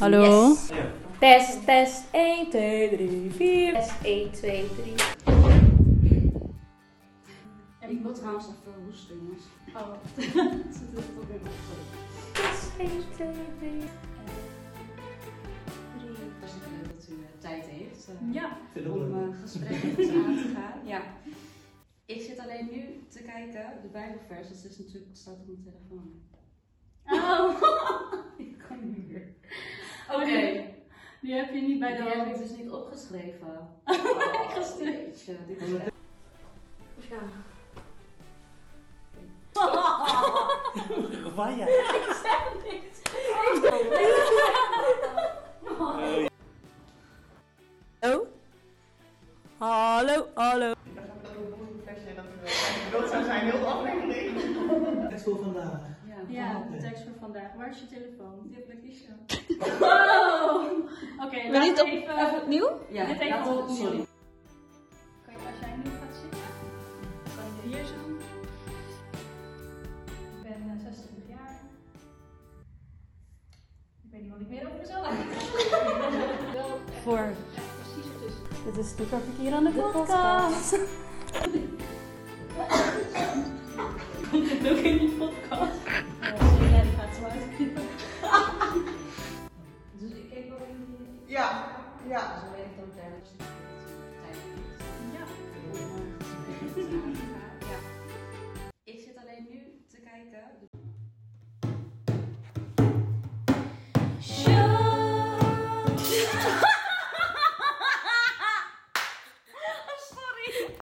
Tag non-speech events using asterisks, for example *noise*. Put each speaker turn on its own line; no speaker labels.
Hallo?
Yes. Test, test. 1, 2, 3, 4.
Test 1, 2, 3.
En ik wil trouwens even hoesten, jongens. *laughs*
Oh.
Het zit er toch weer op. Sorry.
Test 1, 2, 3.
Het is leuk dat u eh, tijd heeft eh,
Ja.
om eh, gesprekken met ons aan te gaan. Ja. Ik zit alleen nu te kijken, de Bijbelvers, dat is natuurlijk, het staat op mijn telefoon.
Oh.
*laughs* Ik kan niet meer. Oké,
Oh, nee. Die heb je niet bij de
die heb ik
hand.
dus niet
*laughs*
opgeschreven. Oh,
Gestuurd.
Jeetje, dit is echt-
Ja.
Waar jij?
Hallo? Hallo, hallo.
Ik dacht dat het ook een flesje dat we dood zou zijn, heel de aflevering.
Het voor vandaag.
Ja,
Ja, de tekst voor vandaag. Waar is je telefoon?
Die heb ik niet zo.
*laughs* Oh. Oké, laten we even...
opnieuw?
Ja,
Dit even
laten we-
opnieuw.
sorry.
Kan je als jij nu gaat zitten? Kan je hier zo? Ik ben eh, 26 jaar. Ik weet niet wat ik meer over mezelf heb. Wel
Voor.
echt precies ertussen.
Dit is Toeter hier aan de podcast.
Dit ook in die podcast. Ja, die gaat zo uitknippen.
Dus ik keek wel in die...
Ja, ja.
Zo weet ik dat het ergens niet